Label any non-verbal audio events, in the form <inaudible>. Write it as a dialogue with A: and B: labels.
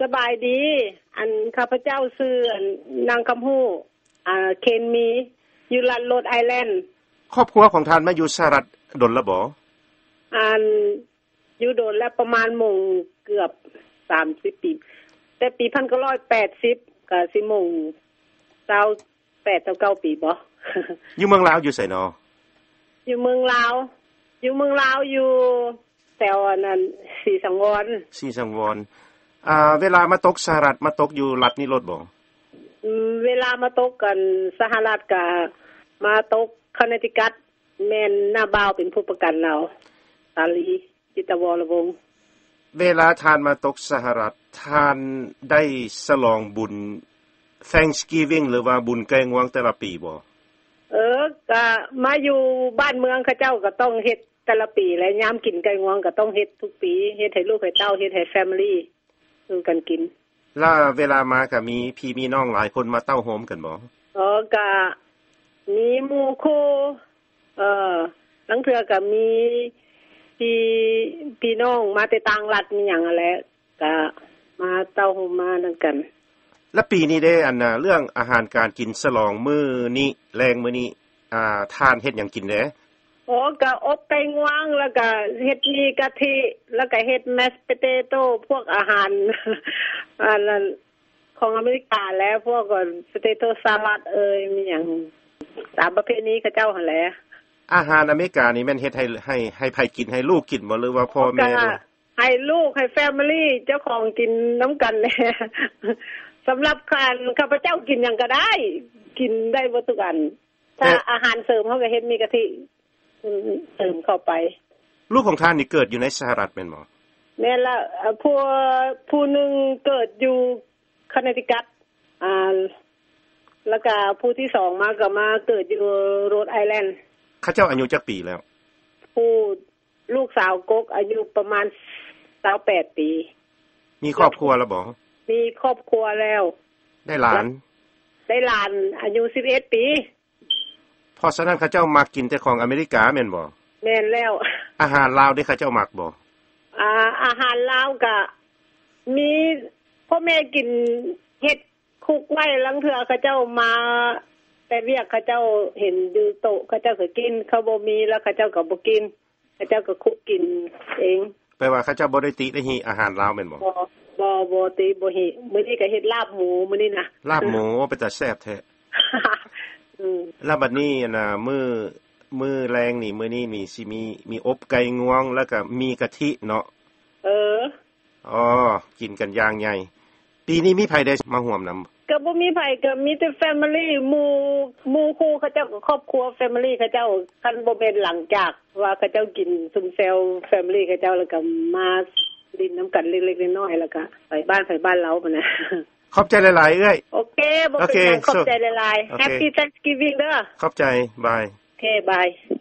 A: สบายดี อันข้าพเจ้าซื้ออันนางคำฮู้อ่าเคนมีอยู่ลันโรดไอแลนด์
B: ครอบครัวของท่านมาอยู่สหรัฐดนละบ่
A: อันอยู่โดนแล้วประมาณหมงเกือบ30ปี แต่ปี1980ก็สิหมง28ต่อ9ปีบ่ <laughs>
B: อยู่เมืองลาวอยู่ไสนอ
A: อยู่เมืองลาว อยู่เมืองลาวอยู่แถวอันนั้นศรีสังวร
B: สีสังวรอ่าเวลามาตกสหรัฐมาตกอยู่รัฐนิโรธบ่
A: อืมเวลามาตกกันสหรัฐกับมาตกคอนเนติคัตแม่นหน้าบ่าวเป็นผู้ประกันเราตาลีจิตวรวงศ์
B: เวลาท่านมาตกสหรัฐท่านได้สลองบุญ Thanksgiving หรือว่าบุญแกงวังแต่ละปีบ่
A: เออก็มาอยู่บ้านเมืองเขาเจ้าก็ต้องเฮ็ดแต่ละปีและยามกินไก่งวงก็ต้องเฮ็ดทุกปีเฮ็ดให้ลูกให้เต้าเฮ็ดให้แฟมิลี่ดูกันกิน
B: แล้วเวลามาก็มีพี่มีน้องหลายคนมาเต้าโฮมกันบ่
A: เออก็มีหมู่คู่เอ่อหลังเทือก็มีพี่พี่น้องมาแต่ต่างรัฐมีหยังนั่นแหละก็มาเต้าโฮมมานำกัน
B: และปีนี้ได้อันน่ะเรื่องอาหารการกินสลองมื้อนี้แรงมื้อนี้อ่าท่านเฮ็ดหยังกินแหน่
A: โอ้ก็อบไปงวางแล้วก็เฮ็ดมีกะทิแล้วก็เฮ็ดแมสเปเตโต้พวกอาหาร <laughs> อันนั้นของอเมริกาแล้วพวกสเตโต้สลัดเอ่ยมีหยังตามประเภทนี้เขาเจ้าหั่นแหละ
B: อาหารอเมริกานี่แม่นเฮ็ดให้ให้ให้ไผกินให้ลูกกินบ่หรือว่าพ่อแม่
A: ก็
B: ดู
A: ให้ลูกให้แฟมิลี่เจ้าของกินน้ำกัน <laughs> แหละ สำหรับการข้าพเจ้ากินหยังก็ได้ กินได้บ่ทุกอัน ถ้าอาหารเสริมเฮาก็เฮ็ดมีกะทิเสริมเข้าไป
B: ลูกของท่านนี่เกิดอยู่ในสหรัฐแม่นบ่
A: แม่นละเอ่อผู้ผู้หนึงเกิดอยู่คอนเนติคัตอ่าแล้วก็ผู้ที่สองมาก็มาเกิดอยู่โรดไอแลนด์
B: เขาเจ้าอายุจักปีแล้ว
A: ผู้ลูกสาวกกอายุประมาณ28ปี
B: มีครอบครัวแล้วบ่
A: มีครอบครัวแล้ว
B: ได้หลาน
A: ได้หลานอายุ11 ปี
B: เพราะฉะนั้นเขาเจ้ามักกินแต่ของอเมริกาแม่นบ่
A: แม่นแล้ว
B: อาหารลาวนี่เขาเจ้ามักบ่
A: อ่าอาหารลาวก็มีพ่อแม่กินเฮ็ดคุกไว้ลังเทื่อเขาเจ้ามา แต่เรียกเขาเจ้าเห็นอยู่โต๊ะเขาเจ้าก็กินเขาบ่มีแล้วเขาเจ้าก็บ่กินเขาเจ้าก็คุกกินเอง
B: แปลว่าเขาเจ้าบ่ได้ติได้หิอาหารลาวแม่นบ่
A: บ่บ่บ่ติบ่เฮ็ดมื้อนี้ก็เฮ็ดลาบหมูมื้อนี้นะ
B: ลาบห มูเป็นตาแซ่บแท้
A: <laughs> อืม
B: แล้วบัดนี้น่ะมื้อมื้อแรงนี่มื้อนี้มีสิมีมีอบไก่งวง แล้วก็มีกะทิเนาะ
A: เออ
B: อ๋อกินกันอย่างใหญ่ปีนี้มีไผได้มาห่วมนำ
A: ก็บ่มีไผก็มีแต่แฟมิลี่หมู่หมู่คู่เขาเจ้าก็ครอบครัวแฟมิลี่เขาเจ้าคันบ่แม่นหลังจากว่าเขาเจ้ากินซุมเซลแฟมิลี่เขาเจ้าแล้วก็มาดินน้ำกันเล็กๆน้อยๆแล้วก็ไปบ้านไปบ้านเราพุ่นนะ <laughs>
B: ขอบใจหลายๆเอ้ย
A: โอเคบ่เป็นหยัง
B: โอเค
A: ขอบใจหลาย
B: โอ
A: ๆ
B: เค
A: Happy Thanksgiving เด้อ
B: ขอบใจ บาย
A: โอเคบาย